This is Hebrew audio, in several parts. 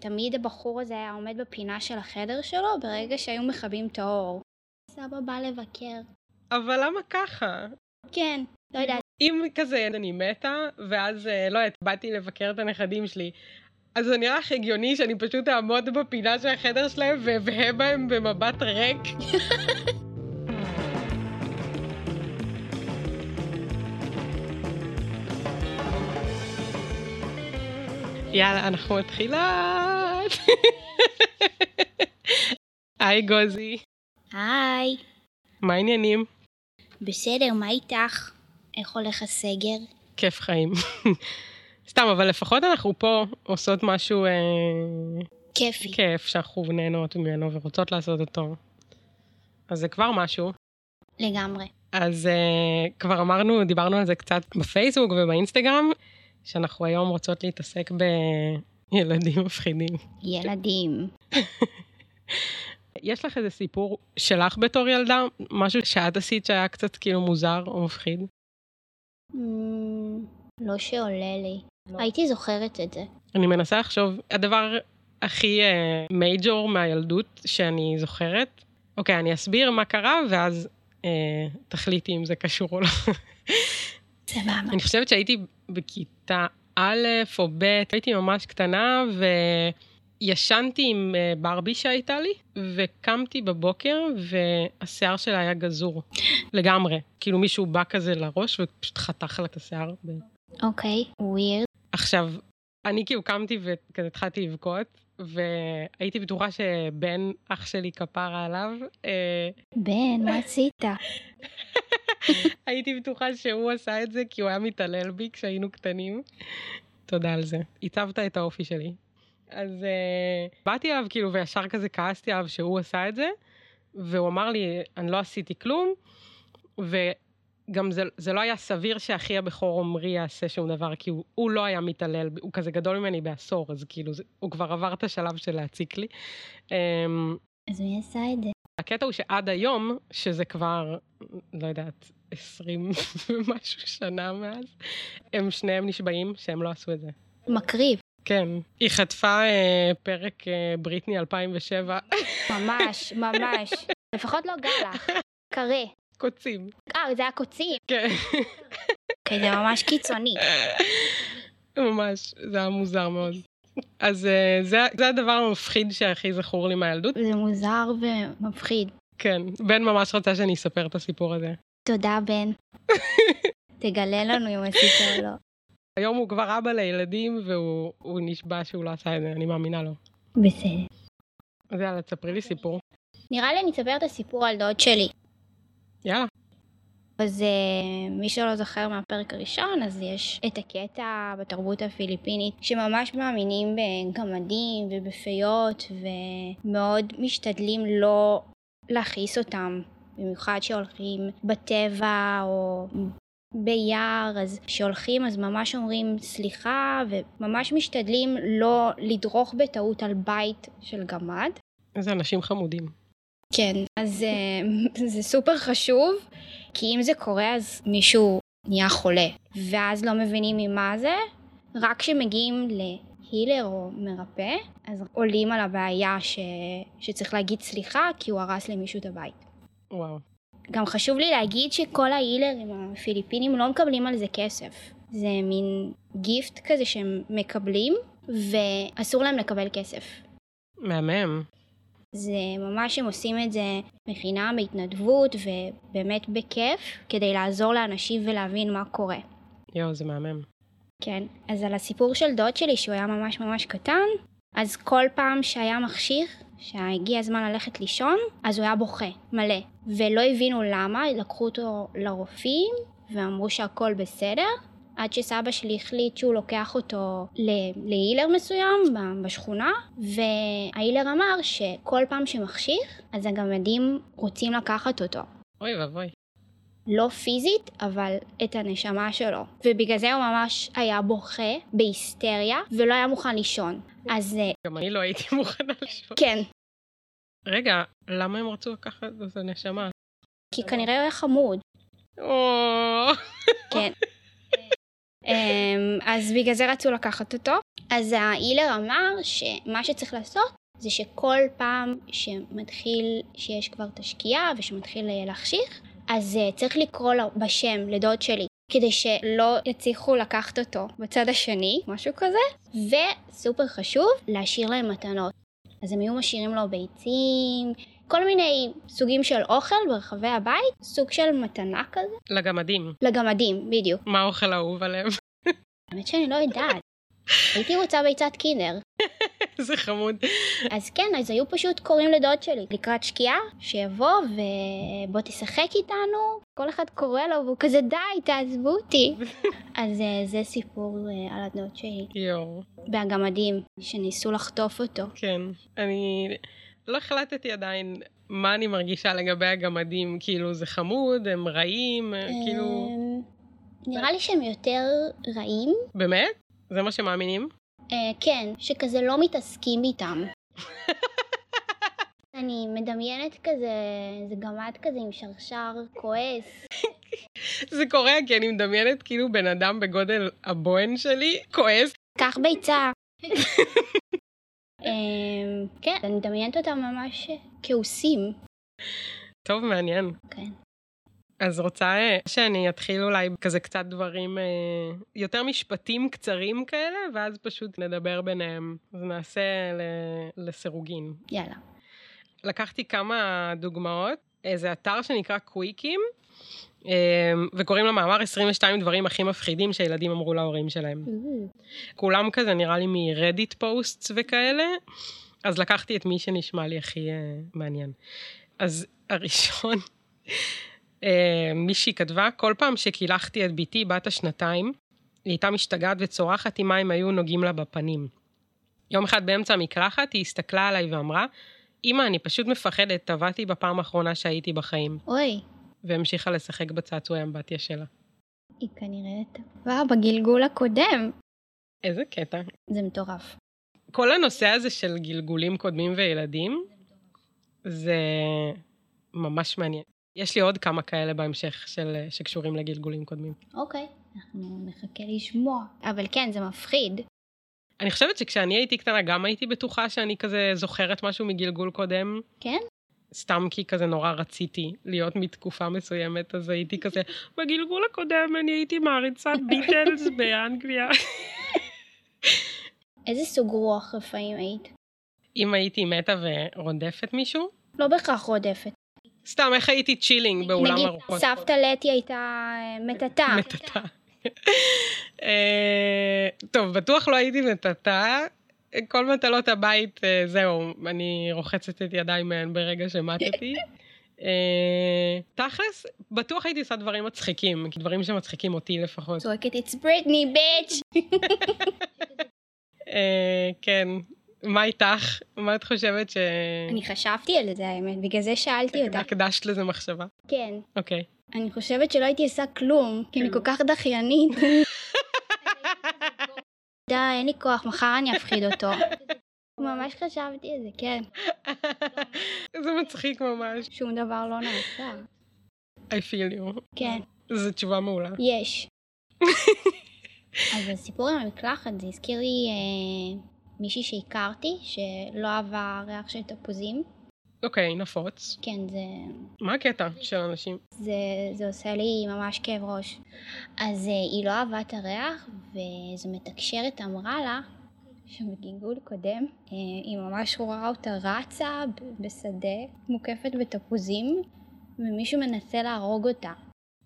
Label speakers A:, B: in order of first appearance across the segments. A: תמיד הבחור הזה היה עומד בפינה של החדר שלו ברגע שהיו מכבים את האור. סבא בא לבקר.
B: אבל למה ככה?
A: כן, לא יודעת.
B: אם כזה אני מתה, ואז אה, לא יודעת, באתי לבקר את הנכדים שלי, אז זה נראה לך הגיוני שאני פשוט אעמוד בפינה של החדר שלהם ואבהה בהם במבט ריק? יאללה, אנחנו מתחילות. היי גוזי,
A: היי.
B: מה העניינים?
A: בסדר, מה איתך? איך הולך הסגר?
B: כיף חיים. סתם, אבל לפחות אנחנו פה עושות משהו אה,
A: כיפי.
B: כיף שאנחנו נהנות ממנו ורוצות לעשות אותו. אז זה כבר משהו.
A: לגמרי.
B: אז אה, כבר אמרנו, דיברנו על זה קצת בפייסבוק ובאינסטגרם, שאנחנו היום רוצות להתעסק בילדים מפחידים.
A: ילדים.
B: יש לך איזה סיפור שלך בתור ילדה? משהו שאת עשית שהיה קצת כאילו מוזר או מפחיד?
A: אמ, לא שעולה לי. הייתי זוכרת את זה.
B: אני מנסה לחשוב, הדבר הכי מייג'ור מהילדות שאני זוכרת, אוקיי, אני אסביר מה קרה, ואז אה, תחליטי אם זה קשור או לא.
A: סבבה.
B: אני חושבת שהייתי בכיתה א' או ב', הייתי ממש קטנה, וישנתי עם אה, ברבי שהייתה לי, וקמתי בבוקר, והשיער שלה היה גזור לגמרי. כאילו מישהו בא כזה לראש ופשוט חתך לה את השיער. ב-
A: אוקיי, ווירד.
B: עכשיו, אני כאילו קמתי וכזה התחלתי לבכות, והייתי בטוחה שבן אח שלי כפרה עליו. אה,
A: בן, מה עשית?
B: הייתי בטוחה שהוא עשה את זה כי הוא היה מתעלל בי כשהיינו קטנים. תודה על זה. עיצבת את האופי שלי. אז uh, באתי אליו כאילו וישר כזה כעסתי עליו שהוא עשה את זה, והוא אמר לי, אני לא עשיתי כלום, וגם זה, זה לא היה סביר שאחי הבכור עמרי יעשה שום דבר, כי הוא, הוא לא היה מתעלל, בי, הוא כזה גדול ממני בעשור, אז כאילו זה, הוא כבר עבר את השלב של להציק לי. Um,
A: אז מי עשה את זה?
B: הקטע הוא שעד היום, שזה כבר, לא יודעת, 20 ומשהו שנה מאז, הם שניהם נשבעים שהם לא עשו את זה.
A: מקריב.
B: כן. היא חטפה אה, פרק אה, בריטני 2007,
A: ממש, ממש. לפחות לא גלח. קרה.
B: קוצים.
A: אה, זה היה קוצים.
B: כן,
A: אוקיי, זה ממש קיצוני.
B: ממש, זה היה מוזר מאוד. אז אה, זה, זה הדבר המפחיד שהכי זכור לי מהילדות.
A: זה מוזר ומפחיד.
B: כן, בן ממש רצה שאני אספר את הסיפור הזה.
A: תודה, בן. תגלה לנו אם עשית או לא.
B: היום הוא כבר אבא לילדים והוא הוא נשבע שהוא לא עשה את זה, אני מאמינה לו.
A: בסדר.
B: אז יאללה, תספרי לי סיפור.
A: נראה לי אני אספר את הסיפור על דוד שלי.
B: יאללה.
A: אז אה, מי שלא זוכר מהפרק הראשון, אז יש את הקטע בתרבות הפיליפינית, שממש מאמינים בגמדים ובפיות, ומאוד משתדלים לא להכעיס אותם, במיוחד שהולכים בטבע או ביער, אז כשהולכים אז ממש אומרים סליחה, וממש משתדלים לא לדרוך בטעות על בית של גמד.
B: איזה אנשים חמודים.
A: כן, אז אה, זה סופר חשוב, כי אם זה קורה אז מישהו נהיה חולה, ואז לא מבינים ממה זה, רק כשמגיעים להילר או מרפא, אז עולים על הבעיה ש... שצריך להגיד סליחה, כי הוא הרס למישהו את הבית.
B: וואו.
A: גם חשוב לי להגיד שכל ההילרים הפיליפינים לא מקבלים על זה כסף. זה מין גיפט כזה שהם מקבלים, ואסור להם לקבל כסף.
B: מהמם.
A: זה ממש, הם עושים את זה בחינם, בהתנדבות ובאמת בכיף, כדי לעזור לאנשים ולהבין מה קורה.
B: יואו, זה מהמם.
A: כן, אז על הסיפור של דוד שלי, שהוא היה ממש ממש קטן, אז כל פעם שהיה מחשיך, שהגיע הזמן ללכת לישון, אז הוא היה בוכה, מלא. ולא הבינו למה, לקחו אותו לרופאים, ואמרו שהכל בסדר, עד שסבא שלי החליט שהוא לוקח אותו ל- להילר מסוים ב- בשכונה, וההילר אמר שכל פעם שמחשיך, אז הגמדים רוצים לקחת אותו.
B: אוי ואבוי.
A: לא פיזית, אבל את הנשמה שלו. ובגלל זה הוא ממש היה בוכה בהיסטריה, ולא היה מוכן לישון. אז אה,
B: גם אני לא הייתי מוכנה לשאול.
A: כן,
B: רגע, למה הם רצו לקחת את זה נשמה?
A: כי כנראה הוא היה חמוד.
B: או,
A: כן. אמ, אז בגלל זה רצו לקחת אותו. אז ההילר אמר שמה שצריך לעשות זה שכל פעם שמתחיל, שיש כבר את השקיעה ושמתחיל אה, להחשיך, אז אה, צריך לקרוא לו בשם לדוד שלי, כדי שלא יצליחו לקחת אותו בצד השני, משהו כזה, וסופר חשוב, להשאיר להם מתנות. אז הם היו משאירים לו ביצים, כל מיני סוגים של אוכל ברחבי הבית, סוג של מתנה כזה,
B: לגמדים.
A: לגמדים, בדיוק.
B: מה האוכל האהוב עליהם?
A: האמת שאני לא יודעת. הייתי רוצה ביצת קינדר.
B: זה חמוד.
A: אז כן, אז היו פשוט קוראים לדוד שלי לקראת שקיעה, שיבוא ובוא תשחק איתנו. כל אחד קורא לו והוא כזה די, תעזבו אותי. אז אה, זה סיפור אה, על הדוד שלי.
B: יואו,
A: והגמדים שניסו לחטוף אותו.
B: כן. אני לא החלטתי עדיין מה אני מרגישה לגבי הגמדים. כאילו, זה חמוד, הם רעים, אה, כאילו...
A: אמ, נראה לי שהם יותר רעים.
B: באמת? זה מה שמאמינים?
A: אה, כן, שכזה לא מתעסקים איתם. אני מדמיינת כזה, זה גמד כזה עם שרשר כועס.
B: זה קורה כי אני מדמיינת כאילו בן אדם בגודל הבוהן שלי כועס.
A: קח ביצה. אמ, כן, אני מדמיינת אותם ממש כעוסים.
B: טוב, מעניין.
A: כן.
B: אז רוצה אה, שאני אתחיל אולי כזה קצת דברים, אה, יותר משפטים קצרים כאלה, ואז פשוט נדבר ביניהם. אז נעשה ל- לסירוגין.
A: יאללה.
B: לקחתי כמה דוגמאות. איזה אתר שנקרא קוויקים, אה, וקוראים למאמר 22 דברים הכי מפחידים שילדים אמרו להורים שלהם. כולם כזה נראה לי מרדיט פוסטס וכאלה, אז לקחתי את מי שנשמע לי הכי אה, מעניין. אז הראשון, אה, מישהי כתבה, כל פעם שקילחתי את בתי בת השנתיים, היא הייתה משתגעת וצורחת אם מים היו נוגעים לה בפנים. יום אחד באמצע המקלחת היא הסתכלה עליי ואמרה, אמא, אני פשוט מפחדת, טבעתי בפעם האחרונה שהייתי בחיים,
A: אוי, והמשיכה
B: לשחק בצעצועי אמבטיה שלה.
A: היא כנראה טובה בגלגול הקודם.
B: איזה קטע.
A: זה מטורף.
B: כל הנושא הזה של גלגולים קודמים וילדים, זה ממש מעניין. יש לי עוד כמה כאלה בהמשך של, שקשורים לגלגולים קודמים.
A: אוקיי, אנחנו נחכה לשמוע. אבל כן, זה מפחיד.
B: אני חושבת שכשאני הייתי קטנה גם הייתי בטוחה שאני כזה זוכרת משהו מגלגול קודם.
A: כן?
B: סתם כי כזה נורא רציתי להיות מתקופה מסוימת, אז הייתי כזה, בגלגול הקודם אני הייתי מעריצה ביטלס באנגליה.
A: איזה סוג רוח רפאים היית?
B: אם הייתי מתה ורודפת מישהו,
A: לא בהכרח רודפת.
B: סתם איך הייתי צ'ילינג באולם
A: נגיד,
B: ארוחות.
A: סבתא לטי הייתה אה, מטאטה.
B: מטאטא. אה, טוב, בטוח לא הייתי מטאטא. כל מטלות הבית, אה, זהו, אני רוחצת את ידיי מהן ברגע שמטתי. אה, תכלס, בטוח הייתי עושה דברים מצחיקים, כי דברים שמצחיקים אותי לפחות.
A: צועקת It's Britney, bitch!
B: אה, כן, מה איתך? מה את חושבת ש...
A: אני חשבתי על זה, האמת, בגלל זה שאלתי אותך.
B: הקדשת לזה מחשבה?
A: כן.
B: אוקיי.
A: אני חושבת שלא הייתי עושה כלום, כי אני כל כך דחיינית. די, אין לי כוח, מחר אני אפחיד אותו. ממש חשבתי על זה, כן.
B: זה מצחיק ממש.
A: שום דבר לא נעשה.
B: I feel you.
A: כן,
B: זו תשובה מעולה.
A: יש. אז הסיפור עם המקלחת, זה הזכיר לי אה, מישהי שהכרתי, שלא אהבה ריח של תפוזים.
B: אוקיי, נפוץ.
A: כן, זה
B: מה הקטע של אנשים?
A: זה, זה עושה לי ממש כאב ראש. אז אה, היא לא אהבה את הריח, ואיזו מתקשרת אמרה לה שבגלגול קודם אה, היא ממש רואה אותה רצה ב- בשדה, מוקפת בתפוזים, ומישהו מנסה להרוג אותה.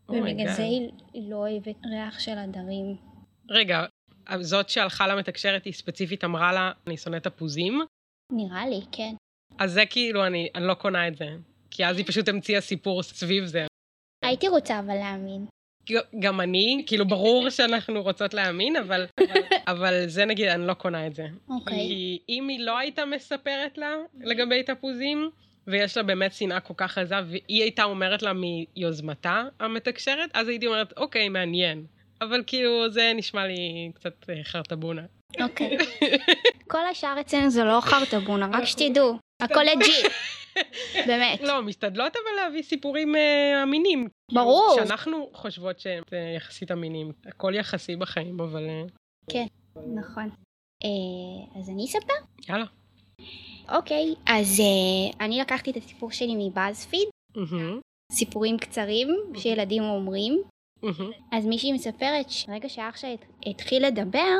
B: Oh
A: ובגלל זה היא היא לא אוהבת ריח של עדרים.
B: רגע, זאת שהלכה למתקשרת, היא ספציפית אמרה לה, אני שונאת תפוזים?
A: נראה לי, כן.
B: אז זה כאילו, אני, אני לא קונה את זה. כי אז היא פשוט המציאה סיפור סביב זה.
A: הייתי רוצה אבל להאמין.
B: ג- גם אני, כאילו, ברור שאנחנו רוצות להאמין, אבל, אבל זה נגיד, אני לא קונה את זה.
A: אוקיי.
B: כי אם היא לא הייתה מספרת לה לגבי תפוזים, ויש לה באמת שנאה כל כך עזה, והיא הייתה אומרת לה מיוזמתה המתקשרת, אז הייתי אומרת, אוקיי, מעניין. אבל כאילו, זה נשמע לי קצת אה, חרטבונה.
A: אוקיי. כל השאר אצלנו זה לא חרטבונה, רק שתדעו. הכל לג'י. באמת.
B: לא, משתדלות אבל להביא סיפורים אה, אמינים.
A: ברור.
B: שאנחנו חושבות שהם אה, יחסית אמינים. הכל יחסי בחיים, אבל... אה,
A: נכון. אה, אז אני אספר.
B: יאללה.
A: אוקיי, אז אה, אני לקחתי את הסיפור שלי מבאזפיד,
B: מהמם,
A: סיפורים קצרים שילדים אומרים.
B: מהמם.
A: אז מישהי מספרת שברגע שאח שלה הת- התחיל לדבר,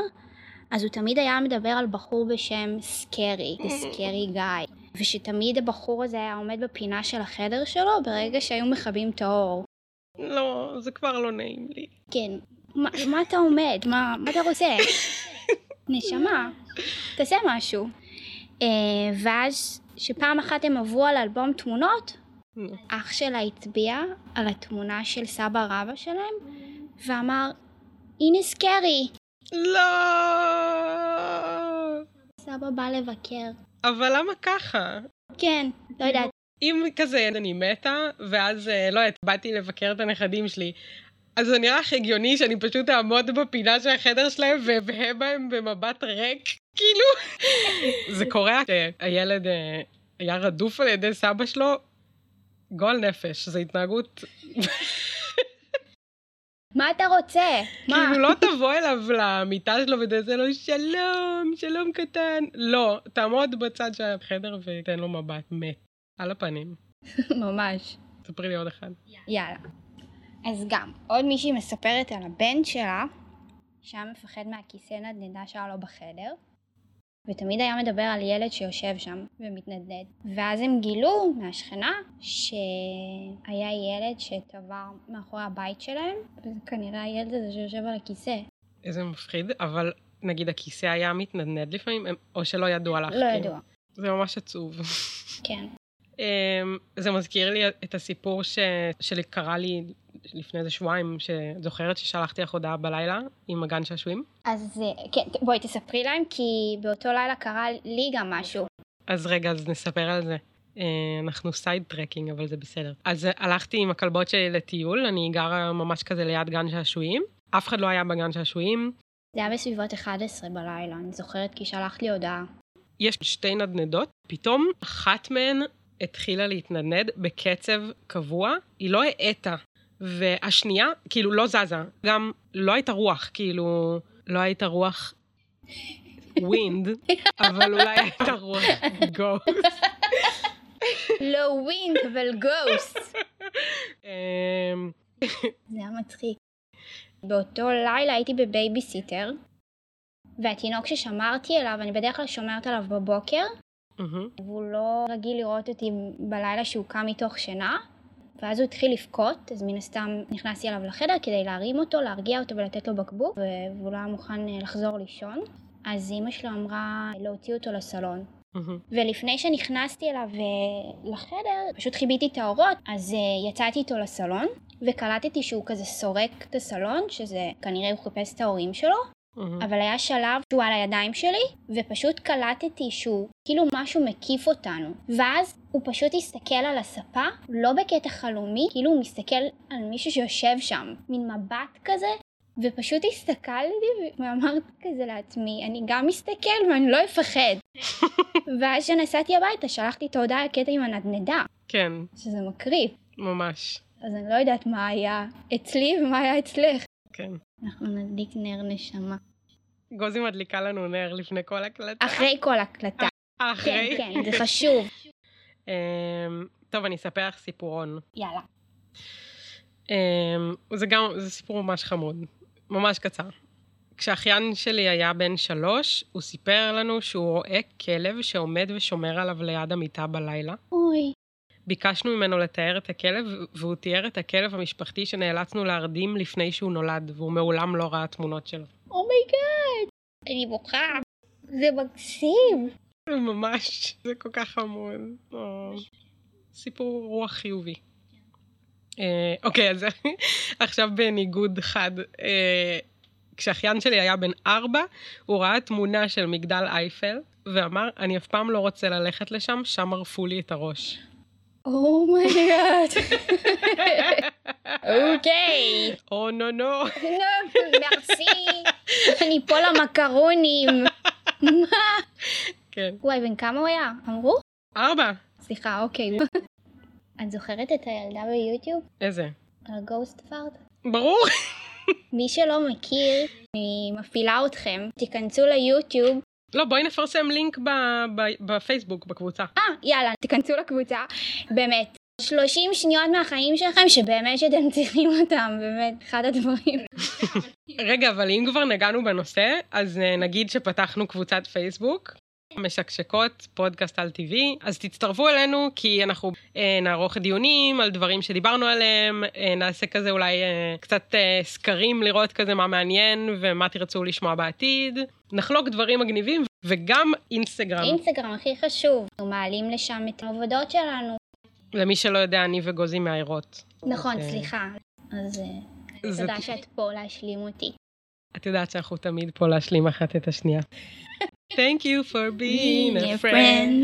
A: אז הוא תמיד היה מדבר על בחור בשם סקרי, the scary guy, ושתמיד הבחור הזה היה עומד בפינה של החדר שלו ברגע שהיו מכבים את האור.
B: לא, זה כבר לא נעים לי.
A: כן, מה, מה אתה עומד? מה, מה אתה רוצה? נשמה, תעשה משהו. אה, ואז שפעם אחת הם עברו על אלבום תמונות,
B: נו.
A: אח שלה הצביע על התמונה של סבא רבא שלהם, ואמר, הנה סקרי.
B: לא!
A: סבא בא לבקר.
B: אבל למה ככה?
A: כן, לא יודעת.
B: אם כזה אני מתה, ואז, אה, לא יודעת, באתי לבקר את הנכדים שלי, אז זה נראה לך הגיוני שאני פשוט אעמוד בפינה של החדר שלהם ואבהה בהם במבט ריק? כאילו... זה קורה שהילד אה, היה רדוף על ידי סבא שלו, גועל נפש, זו התנהגות...
A: מה אתה רוצה? מה?
B: כאילו, לא תבוא אליו למיטה שלו ותעשה לו שלום, שלום קטן. לא, תעמוד בצד של החדר ותן לו מבט מת, על הפנים.
A: ממש.
B: תספרי לי עוד אחד.
A: יאללה. אז גם, עוד מישהי מספרת על הבן שלה, שהיה מפחד מהכיסא נדנדה שהיה לו בחדר, ותמיד היה מדבר על ילד שיושב שם ומתנדנד. ואז הם גילו מהשכנה שהיה ילד שטבע מאחורי הבית שלהם, וזה כנראה הילד הזה שיושב על הכיסא.
B: איזה מפחיד, אבל נגיד הכיסא היה מתנדנד לפעמים, הם- או שלא ידוע לך.
A: לא
B: כאילו.
A: ידוע.
B: זה ממש עצוב.
A: כן.
B: אמ, זה מזכיר לי את הסיפור ש... שקרה לי לפני איזה שבועיים, שזוכרת ששלחתי לך הודעה בלילה עם הגן שעשועים?
A: אז אה, כן, בואי תספרי להם, כי באותו לילה קרה לי גם משהו.
B: אז רגע, אז נספר על זה. אה, אנחנו סייד טרקינג, אבל זה בסדר. אז הלכתי עם הכלבות שלי לטיול, אני גרה ממש כזה ליד גן שעשועים. אף אחד לא היה בגן שעשועים.
A: זה היה בסביבות 11 בלילה, אני זוכרת כי שלחת לי הודעה.
B: יש שתי נדנדות, פתאום אחת מהן התחילה להתנדנד בקצב קבוע, היא לא האטה, והשנייה כאילו לא זזה, גם לא הייתה רוח, כאילו לא הייתה רוח ווינד, אבל אולי הייתה רוח גו.
A: לא ווינד, אבל גוסט.
B: אמ,
A: זה היה מצחיק. באותו לילה הייתי בבייביסיטר, והתינוק ששמרתי עליו, אני בדרך כלל שומרת עליו בבוקר,
B: מהמם.
A: והוא לא רגיל לראות אותי בלילה שהוא קם מתוך שינה, ואז הוא התחיל לבכות, אז מן הסתם נכנסתי אליו לחדר כדי להרים אותו, להרגיע אותו ולתת לו בקבוק, ו- והוא לא היה מוכן אה, לחזור לישון. אז אימא שלו אמרה להוציא אותו לסלון.
B: מהמם.
A: ולפני שנכנסתי אליו אה, לחדר, פשוט כיביתי את האורות, אז אה, יצאתי איתו לסלון, וקלטתי שהוא כזה סורק את הסלון, שזה כנראה הוא חיפש את ההורים שלו,
B: מהמם.
A: אבל היה שלב שהוא על הידיים שלי, ופשוט קלטתי שהוא כאילו משהו מקיף אותנו. ואז הוא פשוט הסתכל על הספה, לא בקטע חלומי, כאילו הוא מסתכל על מישהו שיושב שם, מין מבט כזה. ופשוט הסתכלתי ואמרתי כזה לעצמי, אני גם אסתכל ואני לא אפחד. ואז כשנסעתי הביתה שלחתי את ההודעה על הקטע עם הנדנדה,
B: כן,
A: שזה מקריב.
B: ממש,
A: אז אני לא יודעת מה היה אצלי ומה היה אצלך.
B: כן.
A: אנחנו נדליק נר נשמה.
B: גוזי מדליקה לנו נר לפני כל הקלטה.
A: אחרי כל הקלטה.
B: אה,
A: כן,
B: אחרי?
A: כן, זה חשוב.
B: אמ, טוב, אני אספר לך סיפורון.
A: יאללה.
B: אמ, זה גם, זה סיפור ממש חמוד, ממש קצר. כשאחיין שלי היה בן שלוש, הוא סיפר לנו שהוא רואה כלב שעומד ושומר עליו ליד המיטה בלילה.
A: אוי.
B: ביקשנו ממנו לתאר את הכלב, והוא תיאר את הכלב המשפחתי שנאלצנו להרדים לפני שהוא נולד, והוא מעולם לא ראה תמונות שלו.
A: אומייגאד. אני בוכה. זה מקסים.
B: ממש, זה כל כך חמוד. או, סיפור רוח חיובי. אה, אוקיי, אז עכשיו בניגוד חד. אה, כשאחיין שלי היה בן ארבע, הוא ראה תמונה של מגדל אייפל, ואמר, אני אף פעם לא רוצה ללכת לשם, שם ערפו לי את הראש.
A: אומייגאד. אוקיי.
B: או נו נו.
A: לא, מרסי. אני פה למקרונים.
B: כן.
A: וואי, בן כמה הוא היה? אמרו?
B: ארבע.
A: סליחה, אוקיי. את זוכרת את הילדה ביוטיוב?
B: איזה?
A: על הגוסט פארט?
B: ברור.
A: מי שלא מכיר, אני מפעילה אתכם. תיכנסו ליוטיוב
B: לא, בואי נפרסם לינק ב- ב- בפייסבוק, בקבוצה.
A: אה, יאללה, תיכנסו לקבוצה, באמת. 30 שניות מהחיים שלכם שבאמת שאתם צריכים אותם, באמת, אחד הדברים.
B: רגע, אבל אם כבר נגענו בנושא, אז אה, נגיד שפתחנו קבוצת פייסבוק. משקשקות, פודקאסט על טבעי, אז תצטרפו אלינו כי אנחנו אה, נערוך דיונים על דברים שדיברנו עליהם, אה, נעשה כזה אולי אה, קצת אה, סקרים לראות כזה מה מעניין ומה תרצו לשמוע בעתיד, נחלוק דברים מגניבים וגם אינסטגרם.
A: אינסטגרם הכי חשוב, אנחנו מעלים לשם את העבודות שלנו.
B: למי שלא יודע, אני וגוזי מאיירות.
A: נכון,
B: אז, אה,
A: סליחה. אז אה,
B: זה-
A: תודה שאת פה להשלים אותי.
B: את יודעת שאנחנו תמיד פה להשלים אחת את השנייה. Thank you for being a friend.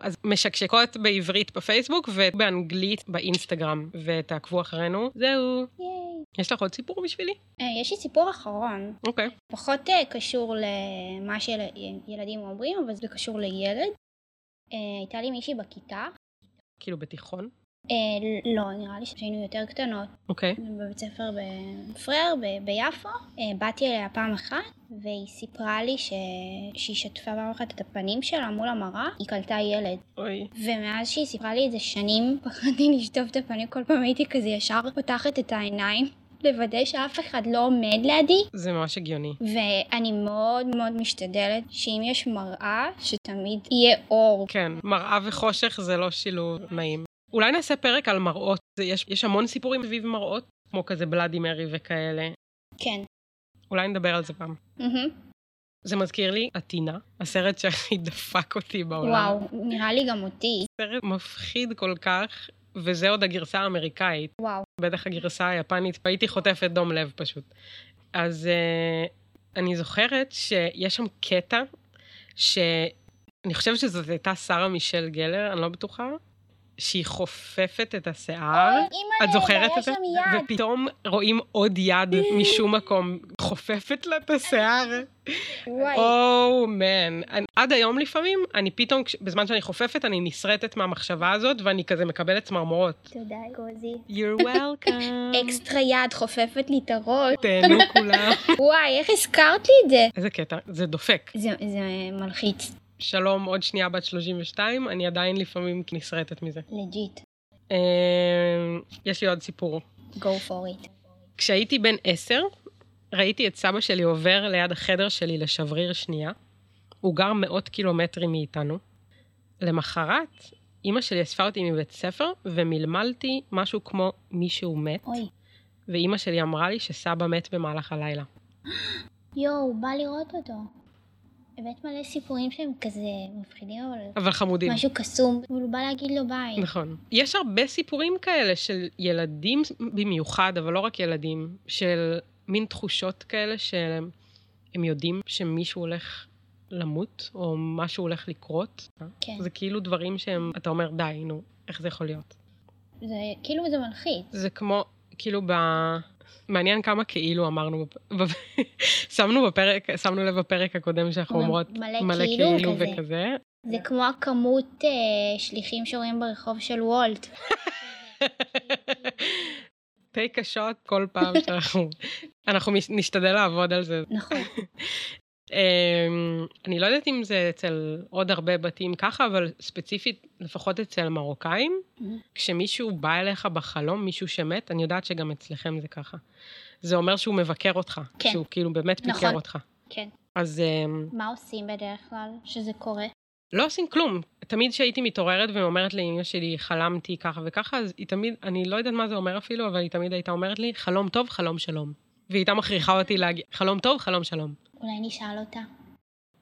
B: אז משקשקות בעברית בפייסבוק ובאנגלית באינסטגרם, ותעקבו אחרינו. זהו.
A: ייי.
B: יש לך עוד סיפור בשבילי?
A: אה, יש לי סיפור אחרון,
B: אוקיי.
A: פחות אה, קשור למה שילדים אומרים, אבל זה קשור לילד. אה, הייתה לי מישהי בכיתה,
B: כאילו בתיכון?
A: אה, לא, נראה לי שהיינו יותר קטנות,
B: אוקיי.
A: בבית ספר בפרר, ב- ביפו. אה, באתי אליה פעם אחת, והיא סיפרה לי ש... שהיא שטפה פעם אחת את הפנים שלה מול המראה, היא קלטה ילד.
B: אוי.
A: ומאז שהיא סיפרה לי את זה שנים, פחדתי לשטוף את הפנים, כל פעם הייתי כזה ישר פותחת את העיניים, לוודא שאף אחד לא עומד לידי.
B: זה ממש הגיוני.
A: ואני מאוד מאוד משתדלת שאם יש מראה, שתמיד יהיה אור.
B: כן, מראה וחושך זה לא שילוב נעים. אולי נעשה פרק על מראות. זה- יש, יש המון סיפורים סביב מראות, כמו כזה בלאדי מרי וכאלה.
A: כן.
B: אולי נדבר על זה פעם.
A: מהמם.
B: זה מזכיר לי, עטינה, הסרט שהכי דפק אותי בעולם.
A: וואו, נראה לי גם אותי.
B: סרט מפחיד כל כך, וזה עוד הגרסה האמריקאית.
A: וואו.
B: בטח הגרסה היפנית, הייתי חוטפת דום לב פשוט. אז uh, אני זוכרת שיש שם קטע, שאני חושבת שזאת הייתה שרה מישל גלר, אני לא בטוחה, שהיא חופפת את השיער.
A: אימא'לה,
B: אה? את זוכרת את זה?
A: היה אה, שם יד.
B: ופתאום רואים עוד יד משום מקום, חופפת לה את השיער.
A: וואי.
B: או מן. Oh, אני- עד היום לפעמים, אני פתאום, כש- בזמן שאני חופפת, אני נשרטת מהמחשבה הזאת, ואני כזה מקבלת צמרמורות.
A: תודה, גוזי.
B: You're welcome.
A: אקסטרה יד חופפת לי את הראש.
B: תהנו כולם.
A: וואי, איך הזכרת לי את זה?
B: איזה קטע, זה דופק.
A: זה- זה מלחיץ,
B: שלום, עוד שנייה בת 32, אני עדיין לפעמים נסרטת מזה.
A: לג'יט.
B: אה, יש לי עוד סיפור.
A: go for it.
B: כשהייתי בן עשר, ראיתי את סבא שלי עובר ליד החדר שלי לשבריר שנייה. הוא גר מאות קילומטרים מאיתנו. למחרת, אימא שלי אספה אותי מבית ספר, ומלמלתי משהו כמו מישהו מת,
A: אוי.
B: ואימא שלי אמרה לי שסבא מת במהלך הלילה.
A: יואו, בא לראות אותו. הבאת מלא סיפורים שהם כזה מפחידים, אבל
B: אבל חמודים.
A: משהו קסום. אבל הוא בא להגיד לו ביי.
B: נכון. יש הרבה סיפורים כאלה של ילדים במיוחד, אבל לא רק ילדים, של מין תחושות כאלה שהם הם יודעים שמישהו הולך למות, או משהו הולך לקרות.
A: כן.
B: זה כאילו דברים שהם, אתה אומר, די, נו, איך זה יכול להיות?
A: זה כאילו זה מלחיץ.
B: זה כמו, כאילו ב... מעניין כמה כאילו אמרנו, בפ- בפ- שמנו בפרק, שמנו לב בפרק הקודם שאנחנו
A: מלא-
B: אומרות
A: מלא
B: מלא
A: כאילו
B: כאילו
A: וכזה.
B: וכזה,
A: זה כמו הכמות אה, שליחים שרואים ברחוב של וולט.
B: טייק השוט כל פעם שאנחנו... אנחנו מש- נשתדל לעבוד על זה.
A: נכון.
B: אמ, אני לא יודעת אם זה אצל עוד הרבה בתים ככה, אבל ספציפית, לפחות אצל מרוקאים,
A: Mhm.
B: כשמישהו בא אליך בחלום, מישהו שמת, אני יודעת שגם אצלכם זה ככה. זה אומר שהוא מבקר אותך.
A: כן.
B: שהוא כאילו באמת ביקר
A: נכון.
B: אותך.
A: כן.
B: אז אמ,
A: מה עושים בדרך כלל שזה קורה?
B: לא עושים כלום. תמיד כשהייתי מתעוררת ואומרת לאמא שלי, חלמתי ככה וככה, אז היא תמיד, אני לא יודעת מה זה אומר אפילו, אבל היא תמיד הייתה אומרת לי, חלום טוב, חלום שלום. והיא הייתה מכריחה אותי להגיד, חלום טוב, חלום שלום.
A: אולי נשאל אותה.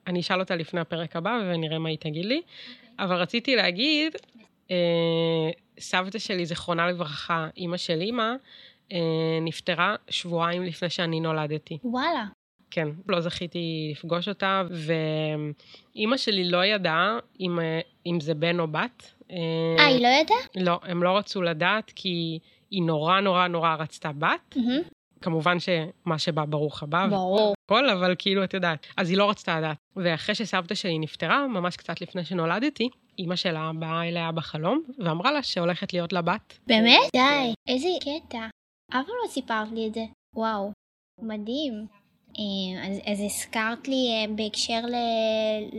B: אני אשאל אותה לפני הפרק הבא ונראה מה היא תגיד לי.
A: אוקיי.
B: אבל רציתי להגיד, אה, סבתא שלי, זיכרונה לברכה, אימא של אימא, אה, נפטרה שבועיים לפני שאני נולדתי.
A: וואלה.
B: כן, לא זכיתי לפגוש אותה, ואימא שלי לא ידעה אם, אה, אם זה בן או בת.
A: אה, היא לא ידעה?
B: לא, הם לא רצו לדעת כי היא נורא נורא נורא רצתה בת.
A: מהמם.
B: כמובן שמה שבא ברוך הבא
A: ברור.
B: והכל, אבל כאילו, את יודעת. אז היא לא רצתה לדעת. ואחרי שסבתא שלי נפטרה, ממש קצת לפני שנולדתי, אימא שלה באה אליה בחלום, ואמרה לה שהולכת להיות לה בת.
A: באמת? די. איזה קטע. אף פעם לא סיפרת לי את זה. וואו. מדהים. אה, אז, אז הזכרת לי אה, בהקשר ל,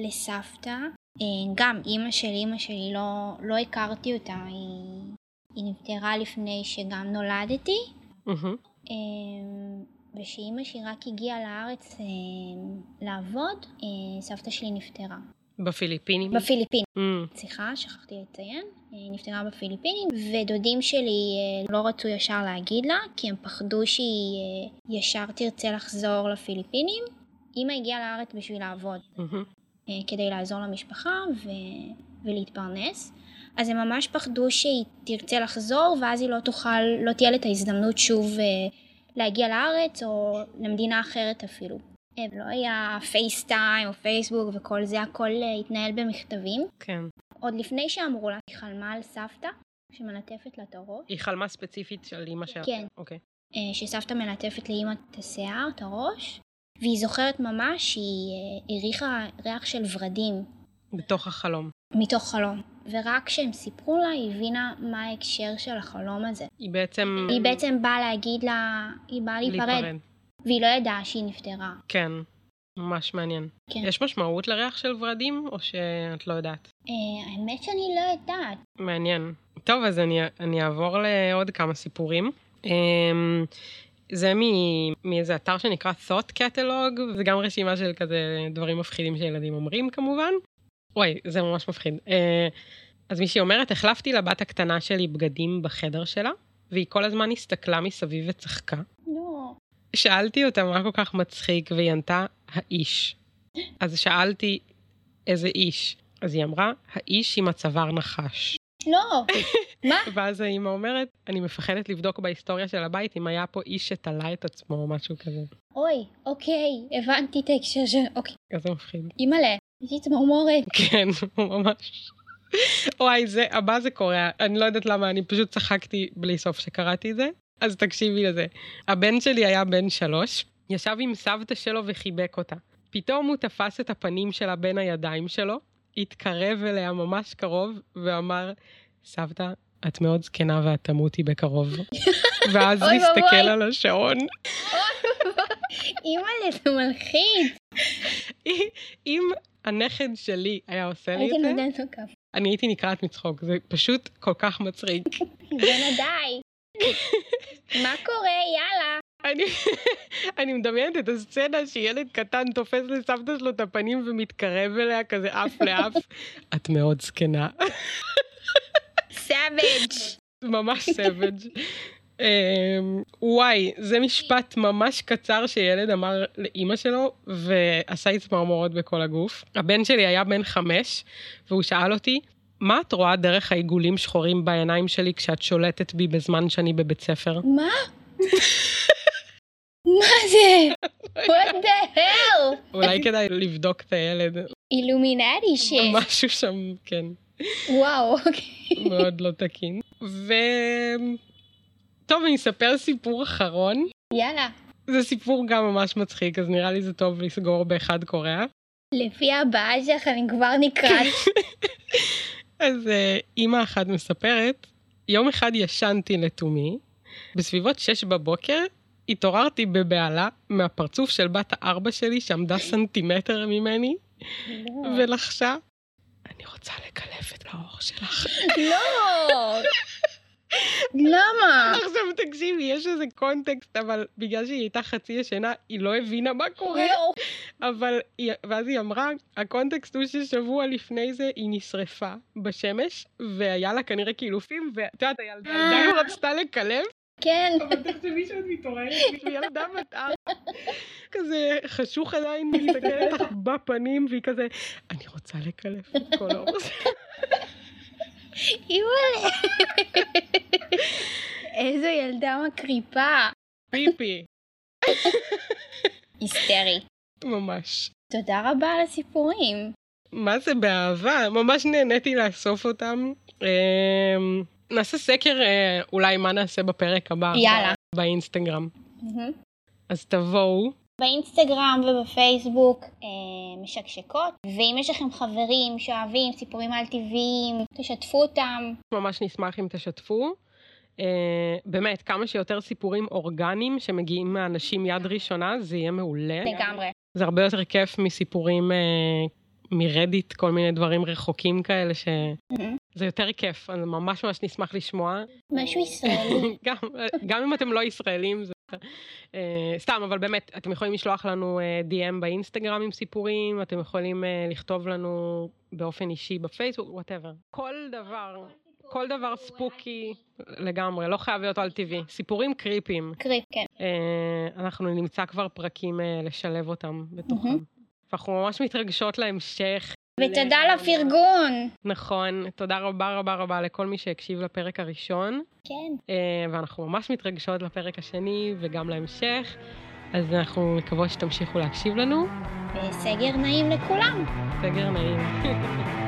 A: לסבתא, אה, גם אימא של אימא שלי, לא, לא הכרתי אותה, היא, היא נפטרה לפני שגם נולדתי,
B: מהמם.
A: אמ, ושאימא שלי רק הגיעה לארץ אמ, לעבוד, אה, סבתא שלי נפטרה.
B: בפיליפינים.
A: בפיליפינים,
B: Mm,
A: סליחה, שכחתי לציין. אה, היא נפטרה בפיליפינים, ודודים שלי אה, לא רצו ישר להגיד לה, כי הם פחדו שהיא אה, ישר תרצה לחזור לפיליפינים. אימא הגיעה לארץ בשביל לעבוד,
B: מהמם.
A: אה, כדי לעזור למשפחה ו... ולהתפרנס. אז הם ממש פחדו שהיא תרצה לחזור, ואז היא לא תוכל, לא תהיה לה את ההזדמנות שוב אה, להגיע לארץ, או למדינה אחרת אפילו. אה, לא היה פייסטיים או פייסבוק וכל זה, הכל אה, התנהל במכתבים.
B: כן.
A: עוד לפני שאמרו לה, היא חלמה על סבתא, שמלטפת לה את הראש.
B: היא חלמה ספציפית של אימא שלה.
A: כן.
B: אוקיי.
A: אה, שסבתא מלטפת לאימא את השיער, את הראש, והיא זוכרת ממש שהיא אה, הריחה ריח של ורדים
B: בתוך החלום.
A: מתוך חלום. ורק כשהם סיפרו לה, היא הבינה מה ההקשר של החלום הזה.
B: היא בעצם...
A: היא בעצם באה להגיד לה, היא באה להיפרד, והיא לא ידעה שהיא נפטרה.
B: כן. ממש מעניין.
A: כן.
B: יש משמעות לריח של ורדים, או שאת לא יודעת?
A: אה, האמת שאני לא יודעת.
B: מעניין. טוב, אז אני, אני אעבור לעוד כמה סיפורים. אמ, זה מ- מאיזה אתר שנקרא Thought Catalog, זה גם רשימה של כזה דברים מפחידים שילדים אומרים כמובן. וואי, זה ממש מפחיד. אה, אז מישהי אומרת, החלפתי לבת הקטנה שלי בגדים בחדר שלה, והיא כל הזמן הסתכלה מסביב וצחקה.
A: לא.
B: שאלתי אותה מה כל כך מצחיק, והיא ענתה, האיש. אז שאלתי, איזה איש? אז היא אמרה, האיש עם הצוואר נחש.
A: לא. מה?
B: ואז האימא אומרת, אני מפחדת לבדוק בהיסטוריה של הבית אם היה פה איש שתלה את עצמו או משהו כזה.
A: אוי, אוקיי, הבנתי את ההקשר של... אוקיי.
B: איזה מפחיד.
A: אימא'לה, יש לי צמרמורת.
B: כן, ממש. וואי, זה, הבא זה קורה, אני לא יודעת למה, אני פשוט צחקתי בלי סוף שקראתי את זה. אז תקשיבי לזה. הבן שלי היה בן שלוש, ישב עם סבתא שלו וחיבק אותה. פתאום הוא תפס את הפנים שלה בין הידיים שלו, התקרב אליה ממש קרוב, ואמר, סבתא, את מאוד זקנה ואת תמותי בקרוב. ואז
A: אוי
B: הסתכל
A: ואבוי.
B: על השעון.
A: אימא'לה, זה מלחיץ.
B: אם הנכד שלי היה עושה לי
A: הייתי
B: את זה,
A: נותנת לו כף.
B: אני הייתי נקרעת מצחוק, זה פשוט כל כך מצחיק.
A: בנה די. מה קורה? יאללה.
B: אני, אני מדמיינת את הסצנה שילד קטן תופס לסבתא שלו את הפנים ומתקרב אליה כזה אף לאף. את מאוד זקנה.
A: סאביג'.
B: ממש סבג'. אמ, וואי, זה משפט ממש קצר שילד אמר לאימא שלו, ועשה לי צמרמורות בכל הגוף. הבן שלי היה בן חמש, והוא שאל אותי, מה את רואה דרך העיגולים שחורים בעיניים שלי כשאת שולטת בי בזמן שאני בבית ספר?
A: מה? מה זה? What the hell?
B: אולי כדאי לבדוק את הילד,
A: אילומינטי שיט.
B: משהו שם, כן,
A: וואו, אוקיי.
B: מאוד לא תקין. ו... טוב, אני אספר סיפור אחרון.
A: יאללה.
B: זה סיפור גם ממש מצחיק, אז נראה לי זה טוב לסגור באחד קוריאה.
A: לפי הבעה שלך אני כבר נקרעת.
B: כן. אז אה, אימא אחת מספרת, יום אחד ישנתי לתומי, בסביבות שש בבוקר התעוררתי בבהלה מהפרצוף של בת הארבע שלי שעמדה סנטימטר ממני
A: לא.
B: ולחשה, אני רוצה לקלף את האור שלך.
A: לא. למה?
B: עכשיו תקשיבי, יש איזה קונטקסט, אבל בגלל שהיא הייתה חצי ישנה, היא לא הבינה מה קורה.
A: יואו.
B: אבל, היא- ואז היא אמרה, הקונטקסט הוא ששבוע לפני זה היא נשרפה בשמש, והיה לה כנראה קילופים, ואת יודעת, הילדה עדיין רצתה לקלף,
A: כן.
B: אבל תחשבי שאת מתעוררת, בשביל ילדה בת ארבע, כזה חשוך עדיין, מסתכלת לך בפנים, והיא כזה, אני רוצה לקלף את כל האור.
A: אימא'לה. איזו ילדה מקריפה.
B: פיפי,
A: היסטרי.
B: ממש.
A: תודה רבה על הסיפורים.
B: מה זה באהבה? ממש נהניתי לאסוף אותם. אמ, נעשה סקר אה, אולי מה נעשה בפרק הבא.
A: יאללה.
B: באינסטגרם. אז תבואו.
A: באינסטגרם ובפייסבוק אה, משקשקות, ואם יש לכם חברים שאוהבים סיפורים על טבעיים, תשתפו אותם.
B: ממש נשמח אם תשתפו. אה, באמת, כמה שיותר סיפורים אורגניים שמגיעים מאנשים יד ראשונה, זה יהיה מעולה.
A: לגמרי.
B: זה הרבה יותר כיף מסיפורים אה, מרדיט, כל מיני דברים רחוקים כאלה, שזה יותר כיף, אז ממש ממש נשמח לשמוע.
A: משהו ישראלי.
B: גם, גם אם אתם לא ישראלים, זה... אה, סתם, אבל באמת, אתם יכולים לשלוח לנו אה, DM באינסטגרם עם סיפורים, אתם יכולים אה, לכתוב לנו באופן אישי בפייסבוק, וואטאבר. כל דבר, כל דבר ספוקי לגמרי, לא חייב להיות על טבעי. סיפורים קריפים.
A: קריפ, כן.
B: אה, אנחנו נמצא כבר פרקים אה, לשלב אותם בתוכם.
A: מהמם.
B: ואנחנו ממש מתרגשות להמשך.
A: ותודה לפרגון.
B: נכון, תודה רבה רבה רבה לכל מי שהקשיב לפרק הראשון.
A: כן.
B: אה, ואנחנו ממש מתרגשות לפרק השני וגם להמשך, אז אנחנו מקוות שתמשיכו להקשיב לנו.
A: וסגר נעים לכולם.
B: סגר נעים.